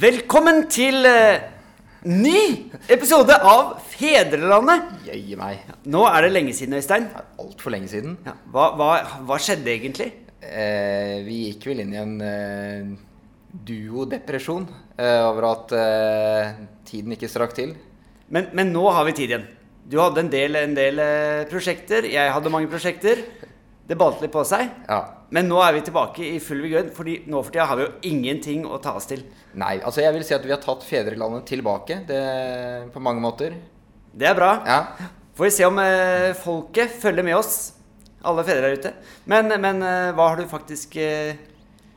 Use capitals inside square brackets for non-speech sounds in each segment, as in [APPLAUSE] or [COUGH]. Velkommen til eh, ny episode av Fedrelandet. Jøye meg. Nå er det lenge siden, Øystein. Altfor lenge siden. Ja, Hva, hva, hva skjedde egentlig? Eh, vi gikk vel inn i en eh, duodepresjon eh, over at eh, tiden ikke strakk til. Men, men nå har vi tid igjen. Du hadde en del, en del eh, prosjekter. Jeg hadde mange prosjekter. Det balte litt på seg. Ja. Men nå er vi tilbake i full vigør, Fordi nå for tida har vi jo ingenting å ta oss til. Nei, altså jeg vil si at vi har tatt fedrelandet tilbake det, på mange måter. Det er bra. Ja. Får vi se om eh, folket følger med oss, alle fedre der ute. Men, men eh, hva har du faktisk eh,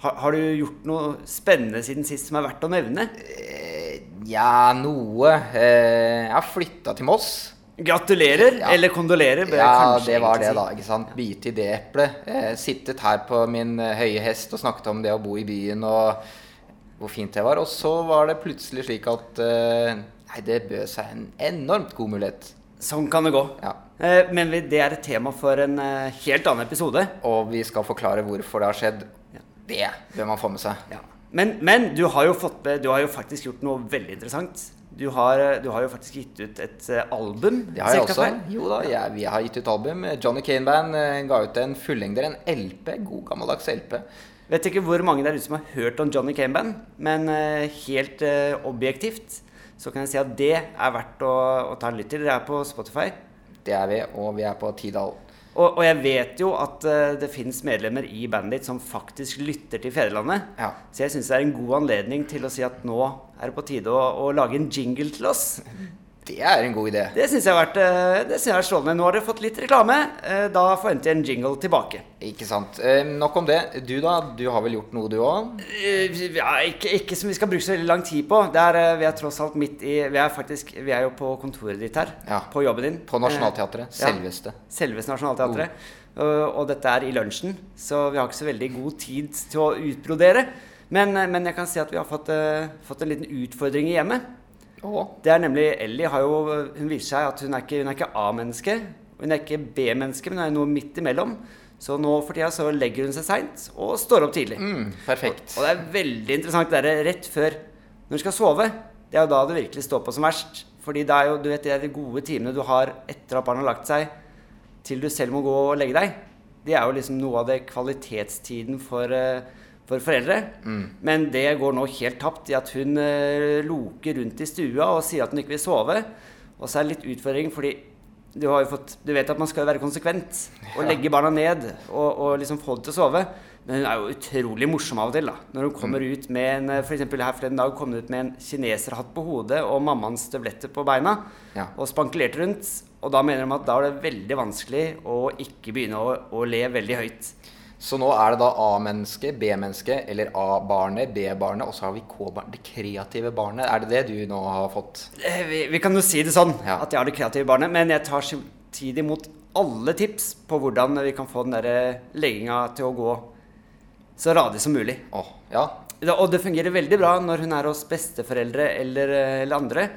har, har du gjort noe spennende siden sist som er verdt å nevne? Eh, ja, noe eh, Jeg har flytta til Moss. Gratulerer, Ja. eller kondolerer. bør jeg Ja, kanskje det var egentlig det, si. da. ikke sant? Bite i det eplet. Eh, sittet her på min eh, høye hest og snakket om det å bo i byen og hvor fint det var. Og så var det plutselig slik at eh, Nei, det bød seg en enormt god mulighet. Sånn kan det gå. Ja. Eh, men vi- det er et tema for en eh, helt annen episode. Og vi skal forklare hvorfor det har skjedd. Det bør man få med seg. Men, men du har jo fått med, du har jo faktisk gjort noe veldig interessant. Du har, eh, du har jo faktisk gitt ut et eh, album. Det har jeg cirka også. feil. Jo da, jeg, vi har gitt ut album. Johnny Kane Band eh, ga ut en fullengder, en LP. God gammeldags LP. Vet ikke hvor mange der ute som har hørt om Johnny Came Band, men eh, helt eh, objektivt så kan jeg si at det er verdt å, å ta en lytt til. Det er på Spotify. Det er vi, og vi er på Tidal. Og, og jeg vet jo at eh, det fins medlemmer i bandet ditt som faktisk lytter til fedrelandet. Ja. Så jeg syns det er en god anledning til å si at nå er det på tide å, å lage en jingle til oss. Det er en god idé. Det syns jeg har vært eh, det synes jeg er strålende. Nå har dere fått litt reklame. eh, Da forventer jeg en jingle tilbake. Ikke sant. Eh, nok om det. Du da, du har vel gjort noe du òg? Eh, Ja, ikke, ikke som vi skal bruke så veldig lang tid på. Det er, eh, vi er tross alt midt i Vi er, faktisk, vi er jo på kontoret ditt her. Ja. På jobben din. På Eh, Nationaltheatret. Oh. ja. Selveste. Selveste Nationaltheatret. Eh, og dette er i lunsjen, så vi har ikke så veldig god tid til å utbrodere. Men, eh, men jeg kan si at vi har fått, eh, fått en liten utfordring i hjemmet. Og Det er nemlig Ellie har jo Hun viser seg at hun er ikke, hun er ikke A-menneske. og Hun er ikke B-menneske, men hun er noe midt imellom. Så nå for tida så legger hun seg seint og står opp tidlig. mm, perfekt. Og det er veldig interessant det der rett før når du skal sove. Det er jo da det virkelig står på som verst. Fordi det er jo, du vet, det er de gode timene du har etter at barnet har lagt seg, til du selv må gå og legge deg. Det er jo liksom noe av det kvalitetstiden for, eh, for foreldre. Men det går nå helt tapt i at hun eh, loker rundt i stua og sier at hun ikke vil sove. Og så er det litt utfordring, fordi du, har jo fått, du vet at man skal være konsekvent og legge barna ned og, og liksom få dem til å sove. Men hun er jo utrolig morsom av og til. da Når hun kommer ut med en eh, For eksempel her forleden dag kom hun ut med en kineserhatt på hodet og mammaens støvletter på beina. Ja. Og spankulerte rundt. Og da mener de at da er det veldig vanskelig å ikke begynne å, å le veldig høyt. Så nå er det da A-menneske, B-menneske, eller A-barnet, B-barnet, og så har vi K-barnet. Det kreative barnet. Er det det du nå har fått? Eh, Vi, vi kan jo si det sånn, Ja. at jeg har det kreative barnet. Men jeg tar samtidig imot alle tips på hvordan vi kan få den der legginga til å gå så radig som mulig. Å, ja. Da- Og det fungerer veldig bra når hun er hos besteforeldre eller, eh, eller andre.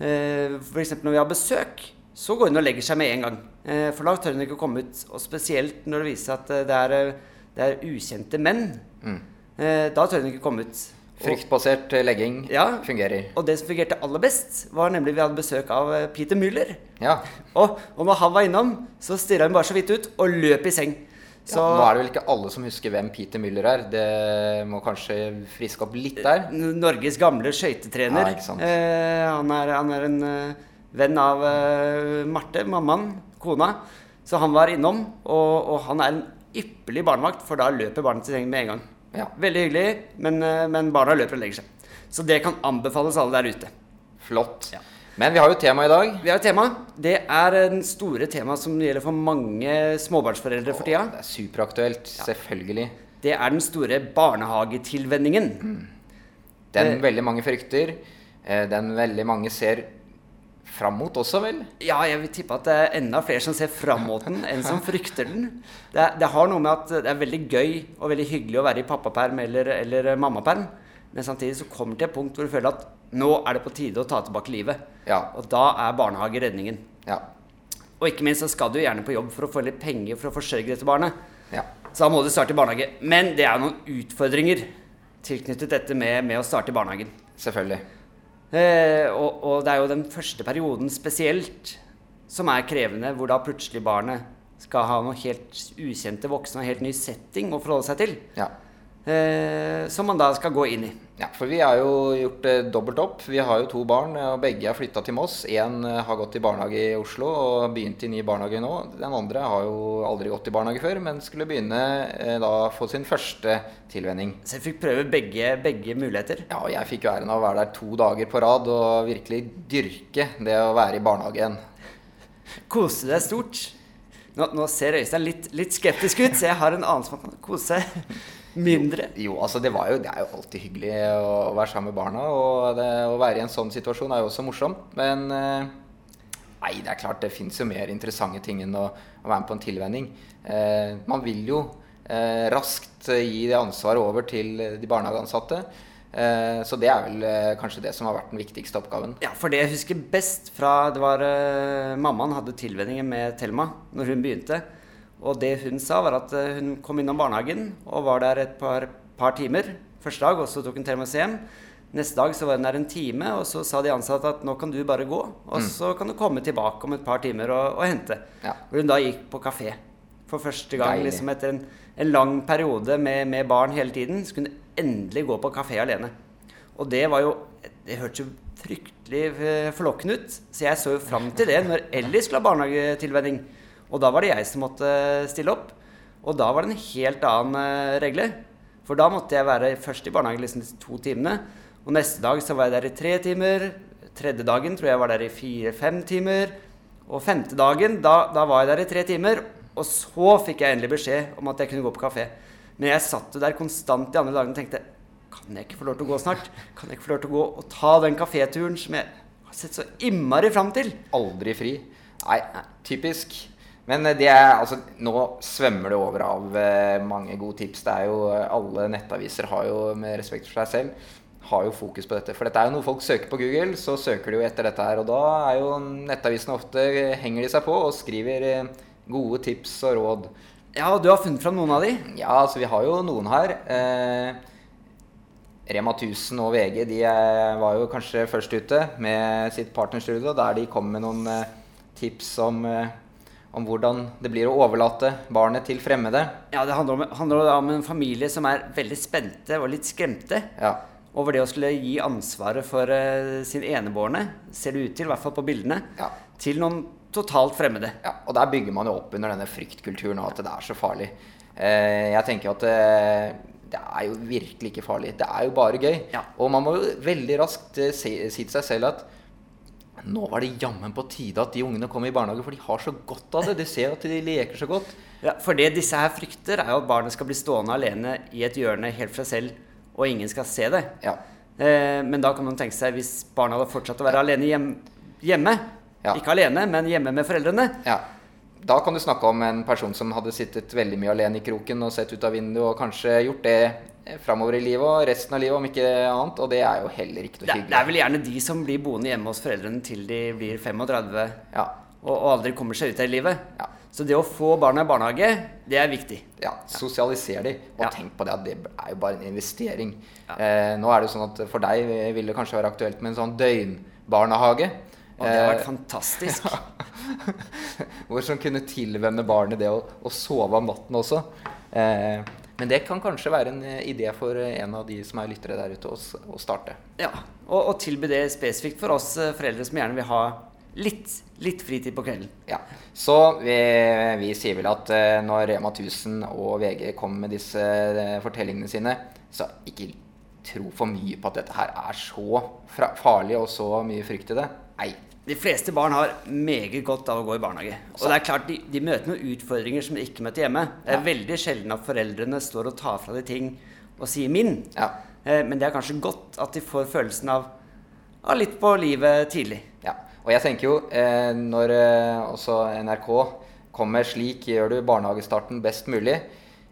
Eh, for eksempel når vi har besøk, så går hun og legger seg med en gang. Eh, for da tør hun ikke å komme ut. Og spesielt når det viser seg at eh, det er, eh, det er ukjente menn. Eh, da tør hun ikke komme ut. Og, Mm. Fryktbasert eh, legging Ja. fungerer. og det som fungerte aller best, var nemlig vi hadde besøk av eh, Peter Müller. Ja. Og, og når han var innom, så stirra hun bare så vidt ut og løp i seng. Så ja. Nå er det vel ikke alle som husker hvem Peter Müller er. Det må kanskje friske opp litt der. N- Norges gamle skøytetrener. Ja, ikke sant. eh, han, er, han er en eh, venn av eh, Marte, mammaen, kona. Så han var innom, og, og han er en ypperlig barnevakt, for da løper barnet til seng med en gang. Ja. Veldig hyggelig, men, eh, men barna løper og legger seg. Så det kan anbefales alle der ute. Flott. Ja. Men vi har jo tema i dag. Vi har et tema. Det er eh, den store temaet som gjelder for mange småbarnsforeldre for tida. Det er superaktuelt. Selvfølgelig. Det er den store barnehagetilvenningen. Den Det- veldig mange frykter. eh, Den veldig mange ser fram mot også, vel? Ja, jeg vil tippe at det er enda flere som ser fram mot den, enn som frykter den. Det, er- det har noe med at det er veldig gøy og veldig hyggelig å være i pappaperm eller, eller eh, mammaperm, men samtidig så kommer det til et punkt hvor du føler at nå er det på tide å ta tilbake livet. Ja. Og da er barnehage redningen. Ja. Og ikke minst så skal du gjerne på jobb for å få litt penger for å forsørge dette barnet. ja. Så da må du starte i barnehage. Men det er noen utfordringer. tilknyttet dette med, med å starte i barnehagen. Selvfølgelig. Eh, og, og det er jo den første perioden spesielt som er krevende, hvor da plutselig barnet skal ha noen helt ukjente voksne og en helt ny setting å forholde seg til. Ja. Eh, som man da skal gå inn i. ja. For vi har jo gjort det dobbelt opp. Vi har jo to barn, eh, og begge har flytta til Moss. Én har gått i barnehage i Oslo og begynt i ny barnehage nå. Den andre har jo aldri gått i barnehage før, men skulle begynne eh, da få sin første tilvenning. Så jeg fikk prøve begge, begge muligheter. Ja, og jeg fikk jo æren av å være der to dager på rad og virkelig dyrke det å være i barnehagen. Kose deg stort. Nå, nå ser Øystein litt, litt skeptisk ut, så jeg har en annen som kan kose seg mindre. Jo, altså det, var jo, det er jo alltid hyggelig å være sammen med barna. Og det, å være i en sånn situasjon er jo også morsomt. Men eh, nei, det er klart det fins jo mer interessante ting enn å, å være med på en tilvenning. Eh, man vil jo eh, raskt gi det ansvaret over til de barnehageansatte. Eh, så det er vel eh, kanskje det som har vært den viktigste oppgaven. Ja, for det jeg husker best fra det var eh, Mammaen hadde tilvenninger med Thelma når hun begynte. Og det hun sa, var at eh, hun kom innom barnehagen og var der et par, par timer første dag, og så tok hun Thelma seg hjem. Neste dag så var hun der en time, og så sa de ansatte at nå kan du bare gå, og så kan du komme tilbake om et par timer og, og hente. Ja. Hvor hun da gikk på kafé for første gang Deilig. liksom etter en, en lang periode med, med barn hele tiden. Så kunne hun endelig gå på kafé alene. Og det var jo Det hørtes jo fryktelig eh, forlokkende ut, så jeg så jo fram til det når Ellie skulle ha barnehagetilvenning. Og da var det jeg som måtte stille opp. Og da var det en helt annen eh, regle. For da måtte jeg være først i barnehagen liksom de to timene. Og neste dag så var jeg der i tre timer. Tredje dagen tror jeg jeg var der i fire-fem timer. Og femte dagen, da, da var jeg der i tre timer, og så fikk jeg endelig beskjed om at jeg kunne gå på kafé. Men jeg satt jo der konstant de andre dagene og tenkte Kan jeg ikke få lov til å gå snart? Kan jeg ikke få lov til å gå og ta den kaféturen som jeg har sett så innmari fram til? Aldri fri. Nei, typisk. Men eh, det er, altså, nå svømmer det over av eh, mange gode tips. Det er jo, eh, alle nettaviser har jo, med respekt for seg selv, har jo fokus på dette. For dette er jo noe folk søker på Google, så søker de jo etter dette her. Og da er jo nettavisene ofte eh, henger de seg på og skriver eh, gode tips og råd. Ja, og du har funnet fram noen av de? Ja, altså vi har jo noen her. Eh, Rema 1000 og VG de eh, var jo kanskje først ute med sitt partnerstudio, der de kom med noen eh, tips om, eh, om hvordan det blir å overlate barnet til fremmede. Ja, det handler om, handler jo da om en familie som er veldig spente og litt skremte Ja, over det å skulle gi ansvaret for eh, sin enebårne, ser det ut til, i hvert fall på bildene, Ja. til noen totalt fremmede. ja. Og der bygger man jo opp under denne fryktkulturen og at det er så farlig. Eh, jeg tenker at eh, det er jo virkelig ikke farlig. Det er jo bare gøy. Ja. Og man må jo veldig raskt eh, si, si til seg selv at Nå var det jammen på tide at de ungene kom i barnehage, for de har så godt av det. Du ser at de leker så godt. Ja, for det disse her frykter, er jo at barnet skal bli stående alene i et hjørne helt for seg selv, og ingen skal se det. Ja. Eh, men da kan man tenke seg, hvis barna hadde fortsatt å være alene hjem, hjemme, Ja. ikke alene, men hjemme med foreldrene, ja. Da kan du snakke om en person som hadde sittet veldig mye alene i kroken og sett ut av vinduet og kanskje gjort det eh, framover i livet og resten av livet, om ikke annet. Og det er jo heller ikke noe det, hyggelig. det er vel gjerne de som blir boende hjemme hos foreldrene til de blir 35 Ja. og, og aldri kommer seg ut av livet. Ja. Så det å få barna i barnehage, det er viktig. ja, sosialiser de. Og Ja. tenk på det at det er jo bare en investering. Ja. Eh, nå er det jo sånn at for deg vil det kanskje være aktuelt med en sånn døgnbarnehage. Og det har eh, vært [LAUGHS] fantastisk. Hvor som kunne tilvenne barnet det å, å sove om natten også. Eh, men det kan kanskje være en eh, idé for eh, en av de som er lyttere der ute, å, s- å starte. Ja, og, og tilby det spesifikt for oss eh, foreldre som gjerne vil ha litt, litt fritid på kvelden. Ja. Så vi, vi sier vel at eh, når Rema 1000 og VG kommer med disse eh, fortellingene sine, så ikke tro for mye på at dette her er så fra farlig og så mye frykt i det. Nei. De fleste barn har meget godt av å gå i barnehage. Og det er klart, de, de møter noen utfordringer som de ikke møter hjemme. Det er veldig sjelden at foreldrene står og tar fra de ting og sier 'min'. Ja. Eh, men det er kanskje godt at de får følelsen av, av litt på livet tidlig. Ja, og jeg tenker jo eh, når eh, også NRK kommer slik gjør du barnehagestarten best mulig,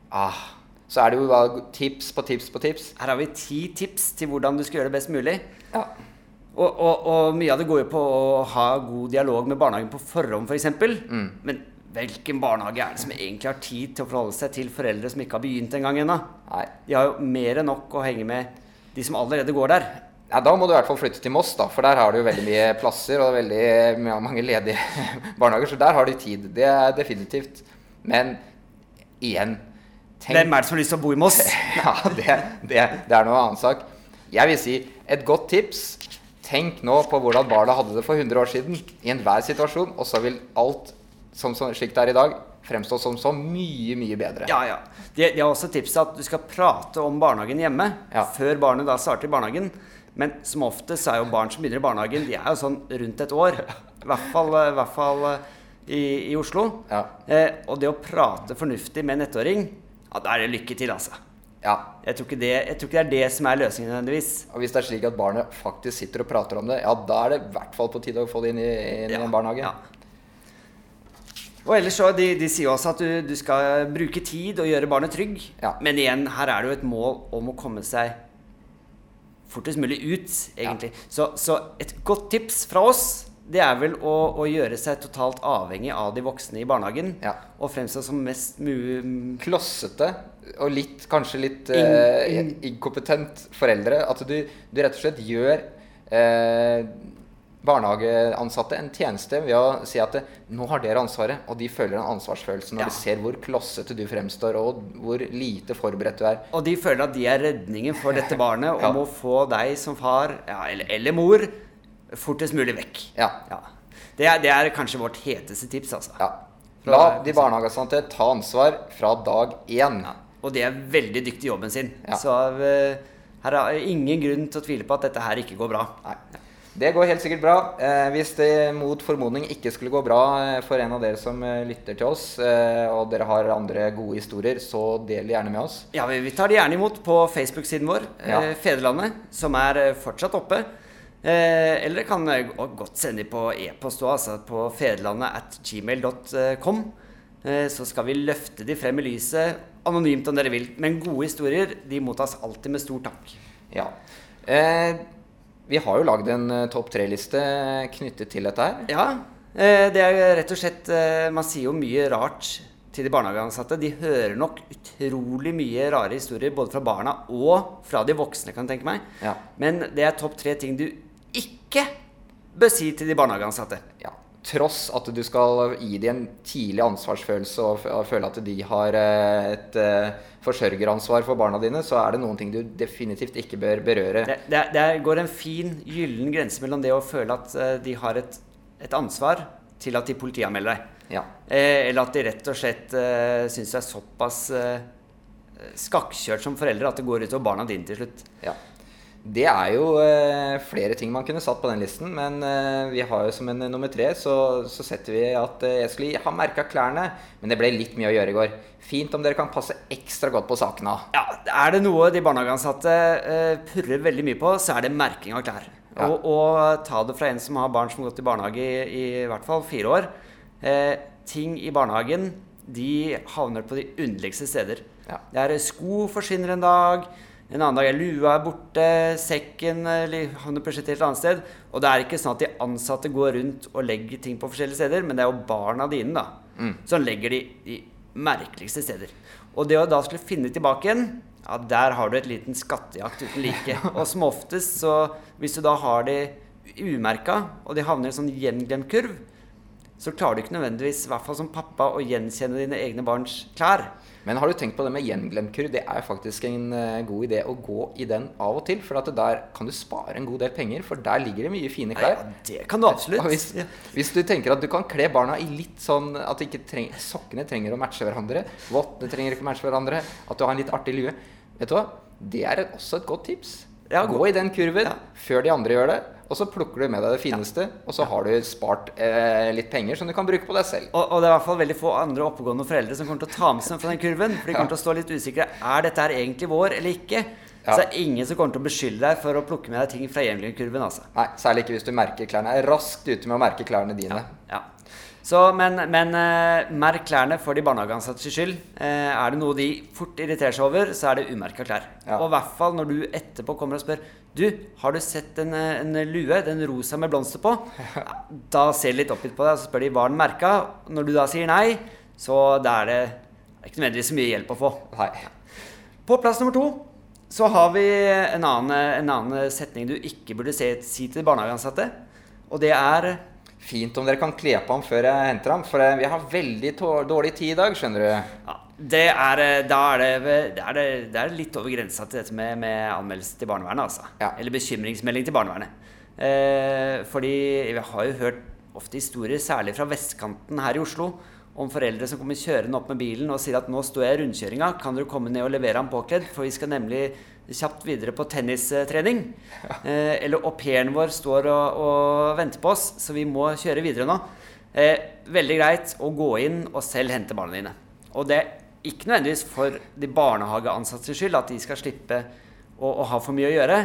ah, så er det jo da tips på tips på tips. Her har vi ti tips til hvordan du skal gjøre det best mulig. Ja, Og, Mm. og, og mye av det går jo på å ha god dialog med barnehagen på forhånd, f.eks. For eksempel. Men Hvilken barnehage er det som egentlig har tid til å forholde seg til foreldre som ikke har begynt engang ennå? Nei. De har jo mer enn nok å henge med de som allerede går der. Nei, da må du i hvert fall flytte til Moss, da, for der har du jo veldig mye plasser og veldig mye- mange ledige [LAUGHS] barnehager. Så der har de tid. Det er definitivt. Men igjen tenk- Hvem er det som har lyst til å bo i Moss? [LAUGHS] Ja, det, det, det er noe annen sak. Jeg vil si et godt tips. Tenk nå på hvordan barna hadde det for 100 år siden i enhver situasjon, og så vil alt som, som, slik det er i dag, fremstå som så mye, mye bedre. Ja, ja. De, de har også tipset at du skal prate om barnehagen hjemme Ja. før barnet da starter i barnehagen. Men som oftest er jo barn som begynner i barnehagen, de er jo sånn rundt et år. I hvert fall, i, hvert fall eh, i, i Oslo. Ja. Eh, og det å prate fornuftig med en ettåring, ja, da er det lykke til, altså. Ja. Jeg tror ikke det, jeg tror ikke det er det som er løsningen nødvendigvis. Og hvis det er slik at barnet faktisk sitter og prater om det, ja, da er det i hvert fall på tide å få det inn i, inn i en barnehage. ja. Og ellers så, de, de sier jo også at du, du skal bruke tid og gjøre barnet trygg. Ja. Men igjen, her er det jo et mål om å komme seg fortest mulig ut, egentlig. Så, så et godt tips fra oss, det er vel å, å gjøre seg totalt avhengig av de voksne i barnehagen. Ja. Og fremstå som mest mu... klossete og litt, kanskje litt In- eh, in- inkompetent foreldre. At du, du rett og slett gjør eh, barnehageansatte en tjeneste ved å si at nå har dere ansvaret, og de føler en ansvarsfølelse når Ja. de ser hvor klossete du fremstår, og hvor lite forberedt du er. Og de føler at de er redningen for dette barnet, og Ja. må få deg som far, ja, eller, eller mor, fortest mulig vekk. Ja. Ja. Det, er, det er kanskje vårt heteste tips, altså. ja. La de barnehageansatte ta ansvar fra dag én. Og de er veldig dyktige i jobben sin. Ja. Så eh, her er ingen grunn til å tvile på at dette her ikke går bra. Nei. Det går helt sikkert bra. Eh, hvis det mot formodning ikke skulle gå bra eh, for en av dere som eh, lytter til oss, eh, og dere har andre gode historier, så del gjerne med oss. Ja, vi, vi tar det gjerne imot på Facebook-siden vår, Ja. eh, Fedrelandet, som er eh, fortsatt oppe. Eh, eller dere kan eh, og godt sende dem på e-post òg, altså på fedrelandet at gmail.com. Eh, så skal vi løfte de frem i lyset, anonymt om dere vil. Men gode historier de mottas alltid med stor takk. Ja. Eh, vi har jo lagd en eh, topp tre-liste eh, knyttet til dette her. Ja, eh, det er rett og slett eh, Man sier jo mye rart til de barnehageansatte. De hører nok utrolig mye rare historier både fra barna og fra de voksne, kan jeg tenke meg. Ja. Men det er topp tre ting du ikke bør si til de barnehageansatte. Ja. Tross at du skal gi dem en tidlig ansvarsfølelse og, f og føle at de har eh, et eh, forsørgeransvar for barna dine, så er det noen ting du definitivt ikke bør berøre. Det, det, det går en fin, gyllen grense mellom det å føle at eh, de har et, et ansvar, til at de politianmelder deg. Ja. Eh, eller at de rett og slett eh, syns du er såpass eh, skakkjørt som foreldre at det går utover barna dine til slutt. Ja. Det er jo eh, flere ting man kunne satt på den listen, men eh, vi har jo som en eh, nummer tre, så, så setter vi at eh, jeg skulle ha merka klærne, men det ble litt mye å gjøre i går. Fint om dere kan passe ekstra godt på sakene. Ja, Er det noe de barnehageansatte eh, purrer veldig mye på, så er det merking av klær. Ja. Og, og ta det fra en som har barn som har gått i barnehage i, i hvert fall fire år. Eh, ting i barnehagen de havner på de underligste steder. Ja. Det er eh, sko forsvinner en dag, en annen dag er lua er borte, sekken eller havner plutselig til et annet sted. Og det er ikke sånn at de ansatte går rundt og legger ting på forskjellige steder, men det er jo barna dine, da. Som legger de de merkeligste steder. Og det å da skulle finne tilbake igjen, ja, der har du et liten skattejakt uten like. Og som oftest, så hvis du da har de umerka, og de havner i en sånn gjenglemt kurv, så klarer du ikke nødvendigvis, i hvert fall som pappa, å gjenkjenne dine egne barns klær. Men har du tenkt på det med gjenglemt kurv? Det er faktisk en eh, god idé å gå i den av og til, for at det der kan du spare en god del penger, for der ligger det mye fine Ja, klær. det kan du absolutt. Og hvis, Ja. hvis du tenker at du kan kle barna i litt sånn at ikke treng, sokkene trenger å matche hverandre, vottene trenger ikke å matche hverandre, at du har en litt artig lue Vet du hva? Det er et, også et godt tips. Ja, Gå godt. i den kurven før de andre gjør det, og så plukker du med deg det fineste, og så har du spart eh, litt penger som du kan bruke på deg selv. Og, og det er i hvert fall veldig få andre oppegående foreldre som kommer til å ta med seg noe fra den kurven. For de kommer til å stå litt usikre. Er dette her egentlig vår eller ikke? Ja. Så det er ingen som kommer til å beskylde deg for å plukke med deg ting fra hjemligkurven. Altså. Nei, særlig ikke hvis du merker klærne. Er raskt ute med å merke klærne dine. Ja. Så, men, men eh, merk klærne for de barnehageansattes skyld. Eh, er det noe de fort irriterer seg over, så er det umerka klær. Ja. Og i hvert fall når du etterpå kommer og spør Du, har du sett en, eh, en lue, den rosa med blomster på? Da ser de litt oppgitt på deg, og så spør de var den merka. Når du da sier nei, så da er det ikke nødvendigvis så mye hjelp å få. Nei. På plass nummer to så har vi en annen, en annen setning du ikke burde se, si til barnehageansatte. Og det er Fint om dere kan kle på ham før jeg henter ham, for eh, vi har veldig tå- dårlig tid i dag, skjønner du. ja, det er, eh, Da er det, det, er det, det er litt over grensa til dette med, med anmeldelse til barnevernet, altså. Ja. Eller bekymringsmelding til barnevernet. Eh, fordi vi har jo hørt ofte historier, særlig fra vestkanten her i Oslo, om foreldre som kommer kjørende opp med bilen og sier at 'nå står jeg i rundkjøringa, kan dere komme ned og levere ham påkledd', for vi skal nemlig kjapt videre på tennistrening. Eh, eller au pairen vår står og, og venter på oss, så vi må kjøre videre nå. Eh, veldig greit å gå inn og selv hente barna dine. Og det er ikke nødvendigvis for de barnehageansattes skyld at de skal slippe å, å ha for mye å gjøre,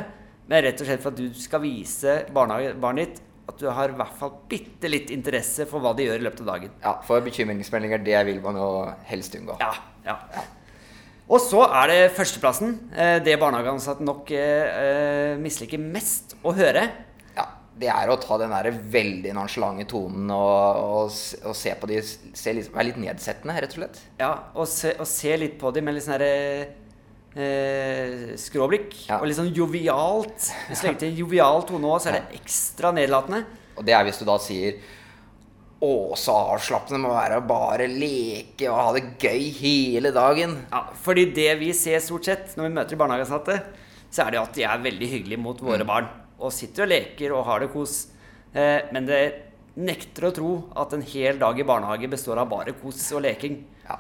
men rett og slett for at du skal vise barnehage- barnet ditt at du har i hvert fall bitte litt interesse for hva de gjør i løpet av dagen. Ja, for bekymringsmeldinger, det vil man jo helst unngå. Ja, ja. Og så er det førsteplassen. eh, Det barnehageansatte nok eh, eh, misliker mest å høre. Ja, det er å ta den der veldig nonchalante tonen og, og, s- og se på de se, litt- Være litt nedsettende, rett og slett. Ja, og se, og se litt på dem med litt sånn herre Eh, skråblikk Ja. og litt sånn jovialt. Hvis du legger til en jovial tone òg, så er det ekstra nedlatende. Og det er hvis du da sier Å, så avslappende det må være å bare leke og ha det gøy hele dagen. Ja, fordi det vi ser stort sett når vi møter de barnehageansatte, så er det jo at de er veldig hyggelige mot Mm. våre barn. Og sitter og leker og har det kos. Eh, men det nekter å tro at en hel dag i barnehage består av bare kos og leking. Ja.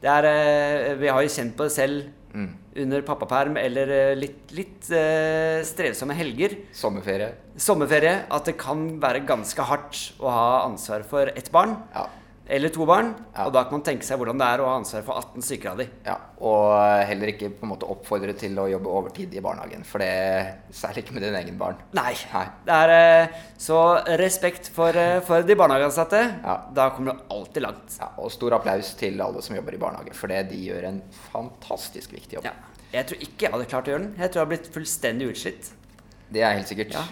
Det er, eh, vi har jo kjent på det selv Mm. under pappaperm eller eh, litt, litt eh, strevsomme helger. Sommerferie. Sommerferie. At det kan være ganske hardt å ha ansvar for ett barn Ja. eller to barn. Ja. Og da kan man tenke seg hvordan det er å ha ansvar for 18 stykker av de. ja. Og heller ikke på en måte oppfordre til å jobbe overtid i barnehagen. For det særlig ikke med din egen barn. Nei. Nei. Det er, eh, så respekt for, eh, for de barnehageansatte. Ja. Da kommer du alltid langt. Ja, og stor applaus til alle som jobber i barnehage, for det de gjør en fantastisk viktig jobb. Ja. Jeg tror ikke jeg hadde klart å gjøre den. Jeg tror jeg hadde blitt fullstendig utslitt. Det er helt sikkert. Ja.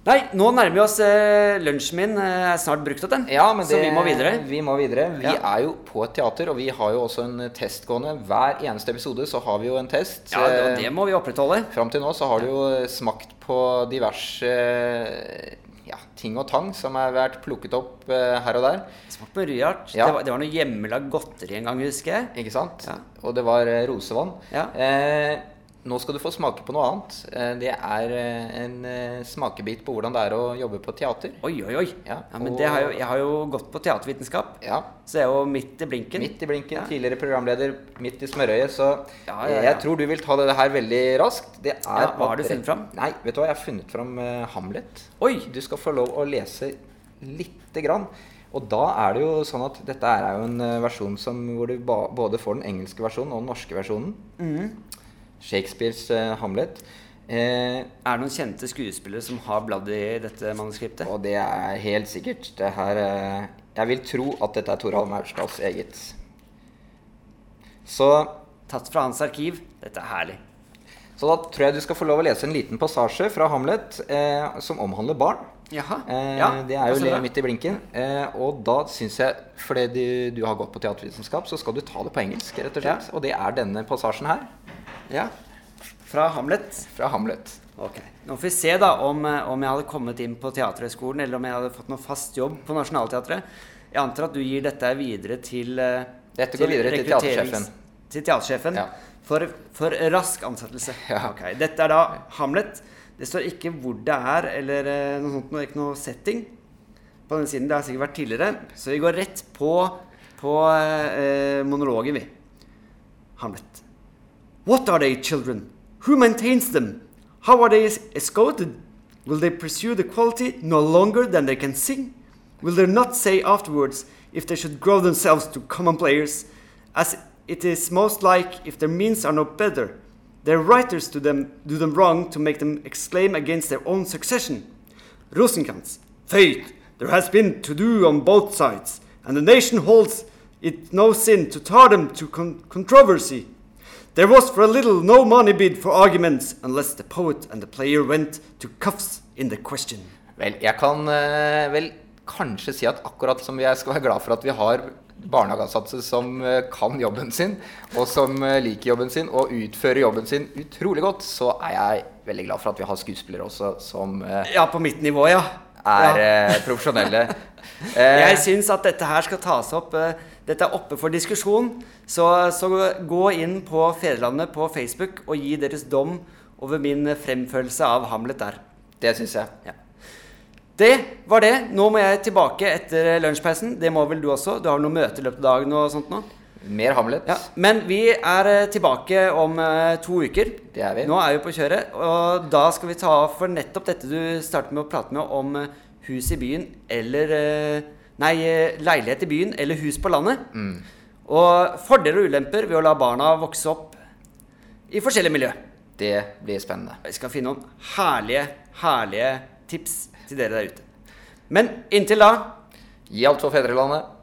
Nei, nå nærmer vi oss eh, lunsjen min. eh, er snart brukt opp, den. Ja, men Så vi det- må videre. Vi må videre. Vi Ja. er jo på et teater, og vi har jo også en test gående. Hver eneste episode så har vi jo en test. Ja, det, Eh, og det må vi opprettholde. Fram til nå så har du jo eh, smakt på diverse eh, ja, ting og tang som har vært plukket opp eh, her og der. Smakt på ryart. Ja. Det, var, det var noe hjemmelagd godteri en gang, husker jeg. Ikke sant? Ja. Og det var eh, rosevann. Ja. Eh, nå skal du få smake på noe annet. Eh, det er eh, en eh, smakebit på hvordan det er å jobbe på teater. Oi, oi, oi. Ja, men og- det har jo, jeg har jo gått på teatervitenskap, Ja. så jeg er jo midt i blinken. Midt i blinken, Ja. tidligere programleder, midt i smørøyet. Så Ja, ja, eh, ja. jeg tror du vil ta det her veldig raskt. Det er Ja, hva har du at- funnet fram? Nei, vet du hva, jeg har funnet fram eh, Hamlet. Oi! Du skal få lov å lese lite grann. Og da er det jo sånn at dette er jo en eh, versjon som, hvor du ba, både får den engelske versjonen og den norske versjonen. Shakespeares eh, Hamlet. Eh, Er det noen kjente skuespillere som har bladd i dette manuskriptet? og det er helt sikkert det her eh, Jeg vil tro at dette er Toralv Maurstads eget. Så, Tatt fra hans arkiv. Dette er herlig. så da tror jeg du skal få lov å lese en liten passasje fra Hamlet eh, som omhandler barn. Jaha. Eh, ja, det er jo passer bra. le midt i blinken. Eh, og da syns jeg, fordi du, du har gått på teatervitenskap, så skal du ta det på engelsk. rett Og slett. Og det er denne passasjen her, Ja. Fra Hamlet. fra Hamlet. Ok. Nå får vi se da om, eh, om jeg hadde kommet inn på Teaterhøgskolen, eller om jeg hadde fått noe fast jobb på Nationaltheatret. Jeg antar at du gir dette videre til eh, Dette går videre til rekrutterings- teatersjefen. Til teatersjefen Ja. for, for rask ansettelse. Ja. Ok. Dette er da Hamlet. Det står ikke hvor det er, eller eh, noe sånt, noe- ikke noe setting på den siden. Det har sikkert vært tidligere. Så vi går rett på, på eh, monologen, vi. Hamlet. What are they, children? Who maintains them? How are they es- escorted? Will they pursue the quality no longer than they can sing? Will they not say afterwards if they should grow themselves to common players, as it is most like if their means are no better? Their writers to them do them wrong to make them exclaim against their own succession. Rosencrantz, Fate, There has been to do on both sides, and the nation holds it no sin to tar them to con- controversy. There was for a little no money bid for arguments, unless the poet and the player went to cuffs in the question. Vel, jeg kan eh, vel kanskje si at akkurat som jeg skal være glad for at vi har barnehageansatte som eh, kan jobben sin, og som eh, liker jobben sin og utfører jobben sin utrolig godt, så er jeg veldig glad for at vi har skuespillere også som eh, Ja, på mitt nivå, ja. er ja. eh, [LAUGHS] profesjonelle. Eh, Jeg syns at dette her skal tas opp. eh, Dette er oppe for diskusjon. Så, så gå inn på Fedrelandet på Facebook og gi deres dom over min fremførelse av Hamlet der. det syns jeg. Det var det. Nå må jeg tilbake etter lunsjpausen. Det må vel du også? Du har vel noe møte i løpet av dagen og sånt nå? Mer Hamlet. Ja. Men vi er eh, tilbake om eh, to uker. Det er vi. Nå er vi på kjøret, og da skal vi ta for nettopp dette du startet med å prate med om eh, hus i byen eller eh, Nei, eh, leilighet i byen eller hus på landet. Mm. Og fordeler og ulemper ved å la barna vokse opp i forskjellige miljø. Det blir spennende. Vi skal finne noen herlige, herlige tips til dere der ute. Men inntil da Gi alt for fedrelandet.